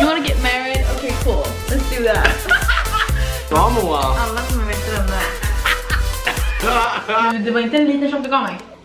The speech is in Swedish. You wanna get married? Okay cool, let's do that. Bra Moa! Alla kommer veta vem det är. Det var inte en liter som du gav mig.